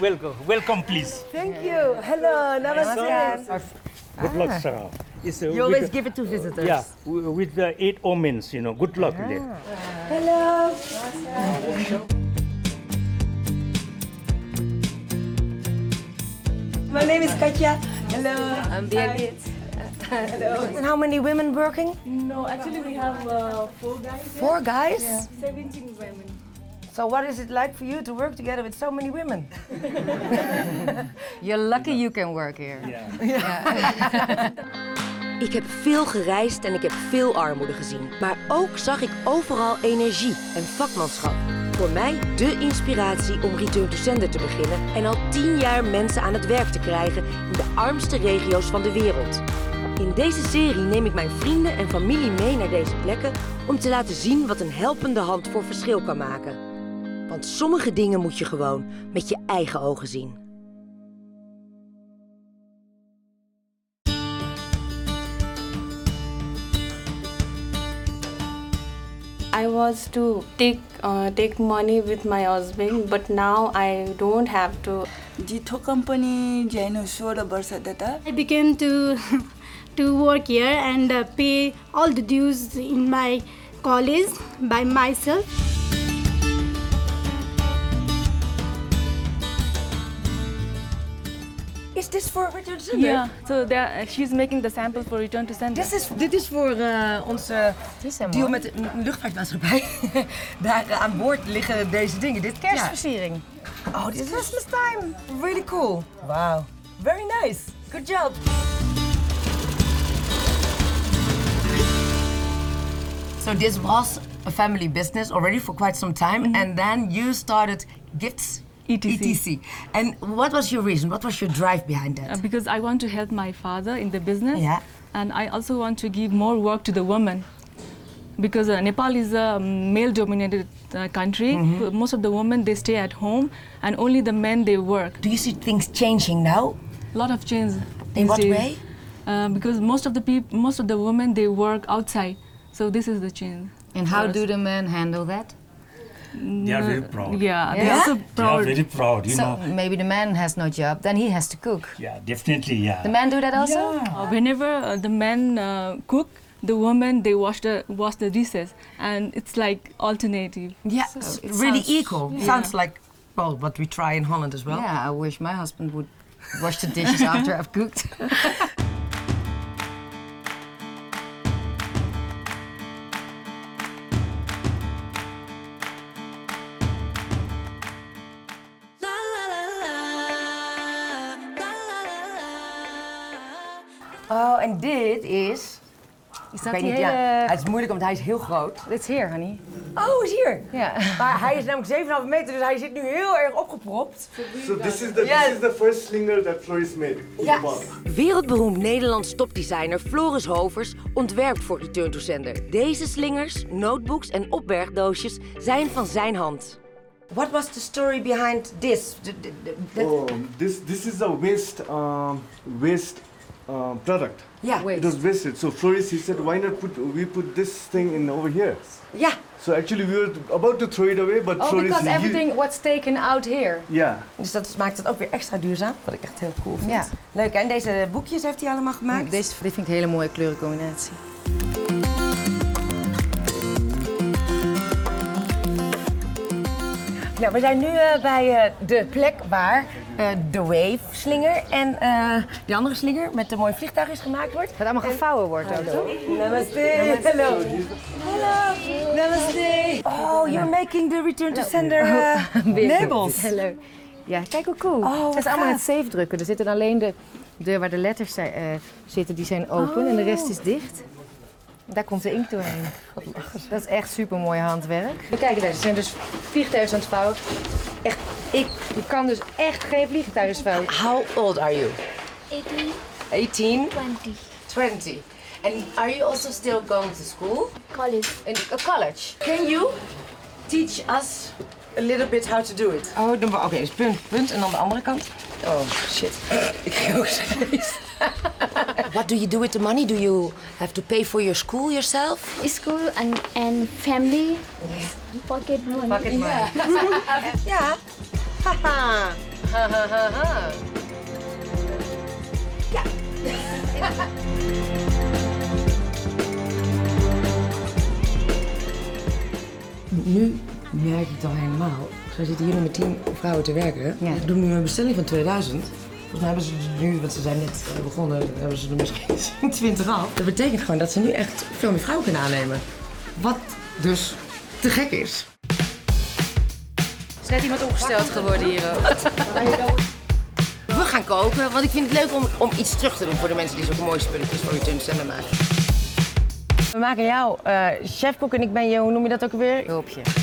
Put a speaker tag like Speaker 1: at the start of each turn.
Speaker 1: Welcome, welcome, please.
Speaker 2: Thank you. Hello, namaste.
Speaker 1: Good luck, Sarah. It's, uh,
Speaker 3: Ah. You always
Speaker 1: with,
Speaker 3: give it to visitors.
Speaker 1: yeah, w- with the eight omens, you know. Good luck there.
Speaker 2: Hello. My name is Katya. Hello.
Speaker 3: I'm Birgit.
Speaker 2: And how many women working?
Speaker 4: No, actually we have uh, four guys. here.
Speaker 2: Four guys.
Speaker 4: 17 women.
Speaker 2: So what is it like for you to work together with so many women?
Speaker 3: You're lucky you can work here.
Speaker 5: Ik heb veel gereisd en ik heb veel armoede gezien. Maar ook zag ik overal energie en vakmanschap. Voor mij de inspiratie om Return to Sender te beginnen en al tien jaar mensen aan het werk te krijgen in de armste regio's van de wereld. In deze serie neem ik mijn vrienden en familie mee naar deze plekken om te laten zien wat een helpende hand voor verschil kan maken. Want sommige dingen moet je gewoon met je eigen ogen zien.
Speaker 4: I was to take uh, take money with my husband, but now I don't have to.
Speaker 6: जिठो company ज्यानो सोह्र वर्ष त्यता
Speaker 7: I began to to work here and uh, pay all the dues in my college by myself.
Speaker 2: Is this for Richard Zimmer?
Speaker 4: Yeah. So they are- she's making the sample for return to sender.
Speaker 2: Dit is, dit is voor eh, onze deal met de m- luchtvaartmaatschappij. Daar eh, aan boord liggen deze dingen. Dit, Kerstversiering. Oh, dit is Christmas time. Really cool. Wow. Very nice. Good job. So this was a family business already for quite some time. And then you started gifts. E
Speaker 4: ETC.
Speaker 2: And what was your reason? What was your drive behind that?
Speaker 4: Uh, because I want to help my father in the business.
Speaker 2: Yeah.
Speaker 4: And I also want to give more work to the women. Because uh, Nepal is a male-dominated uh, country,
Speaker 2: Mm-hmm.
Speaker 4: most of the women they stay at home, and only the men they work.
Speaker 2: Do you see things changing now?
Speaker 4: lot of change.
Speaker 2: In
Speaker 4: these
Speaker 2: what
Speaker 4: days.
Speaker 2: way?
Speaker 4: Uh, because most of the people, most of the women, they work outside. So this is the change.
Speaker 3: And how do the men handle that?
Speaker 1: They are very proud.
Speaker 4: Uh, Yeah, they're also
Speaker 1: They are
Speaker 4: proud.
Speaker 1: very proud, you
Speaker 3: So
Speaker 1: know.
Speaker 3: maybe the man has no job, then he has to cook.
Speaker 1: Yeah, definitely, yeah.
Speaker 3: The men do that also?
Speaker 4: Uh, whenever uh, the men uh, cook, the women they wash the wash the dishes, and it's like alternative.
Speaker 2: Yeah, it's really equal. Sounds like well, what we try in Holland as well.
Speaker 3: Yeah, I wish my husband would wash the dishes after I've cooked.
Speaker 2: Oh, en dit is.
Speaker 3: Is
Speaker 2: Ik
Speaker 3: that
Speaker 2: weet niet, ja. Het is moeilijk, want hij is heel groot.
Speaker 3: It's here, honey.
Speaker 2: Oh, is hier.
Speaker 3: Yeah.
Speaker 2: Maar hij is namelijk 7,5 meter, dus hij zit nu heel erg opgepropt.
Speaker 8: So this is the this is the first slinger that Floris made. Yes.
Speaker 5: Wereldberoemd Nederlands topdesigner Floris Hovers ontwerpt voor Return to Sender. Deze slingers, notebooks en opbergdoosjes zijn van zijn hand.
Speaker 2: What was the story behind this? The- the- the- the-
Speaker 5: Oh.
Speaker 8: Um, this this is a waste um, waste um, product.
Speaker 2: Yeah.
Speaker 8: It was wasted. So Floris he said, why not put we put this thing in over here.
Speaker 2: Yeah.
Speaker 8: So actually we were about to throw it away, but
Speaker 3: Oh,
Speaker 8: Floris he-
Speaker 3: what's taken out here.
Speaker 8: yeah.
Speaker 2: Dus dat maakt het ook weer extra duurzaam, wat ik echt heel cool vind.
Speaker 3: Ja.
Speaker 2: Leuk, hè? en deze boekjes heeft hij allemaal gemaakt?
Speaker 3: Deze, dit vind ik een hele mooie kleurencombinatie.
Speaker 2: Nou, we zijn nu eh, bij eh, de plek waar eh, de Wave-slinger en eh die andere slinger met de mooie vliegtuig is gemaakt wordt.
Speaker 3: Dat allemaal gevouwen wordt ook.
Speaker 2: Namaste. Hello. Hello. Namaste. Oh, you're making the return to sender
Speaker 3: eh,
Speaker 2: uh, labels.
Speaker 3: Hello. Ja, kijk hoe cool.
Speaker 2: Oh,
Speaker 3: dat
Speaker 2: wat
Speaker 3: is allemaal
Speaker 2: gaaf.
Speaker 3: het safe drukken. Er zitten alleen de, de waar de letters zijn, eh, zitten, die zijn open en de
Speaker 2: Oh.
Speaker 3: rest is dicht. Daar komt de inkt doorheen. Dat is echt super mooi handwerk. We kijken daar, ze zijn dus vliegtuigen aan het vouwen. Echt, ik, ik kan dus echt geen vliegtuigen vouwen.
Speaker 2: How old are you?
Speaker 9: 18,
Speaker 2: 18,
Speaker 9: 20,
Speaker 2: 20. And are you also still going to school? uh,
Speaker 9: college.
Speaker 3: In a college.
Speaker 2: Can you teach us a little bit how to do it? Oh, dan- oké, dus punt, punt en dan de andere kant. Oh, shit. Ik kreeg ook stress.
Speaker 5: What do you do with the money? Do you have to pay for your school yourself?
Speaker 9: School and, and family. Pocket money.
Speaker 2: Ja. Haha.
Speaker 3: Nu merk ik het al helemaal. Zij zitten hier nu met tien vrouwen te werken.
Speaker 10: Ja.
Speaker 3: Ze doen nu een bestelling van 2000. Volgens mij hebben ze dus nu, want ze zijn net eh, begonnen, hebben ze er misschien 20 af. Dat betekent gewoon dat ze nu echt veel meer vrouwen kunnen aannemen. Wat dus te gek is.
Speaker 10: is net iemand opgesteld geworden hier ook.
Speaker 3: We gaan koken, want ik vind het leuk om, om iets terug te doen voor de mensen die zo'n mooie spulletjes voor je tuinstellen maken.
Speaker 10: eh, We maken jou chefkok en ik ben je, hoe noem je dat ook weer? Hulpje.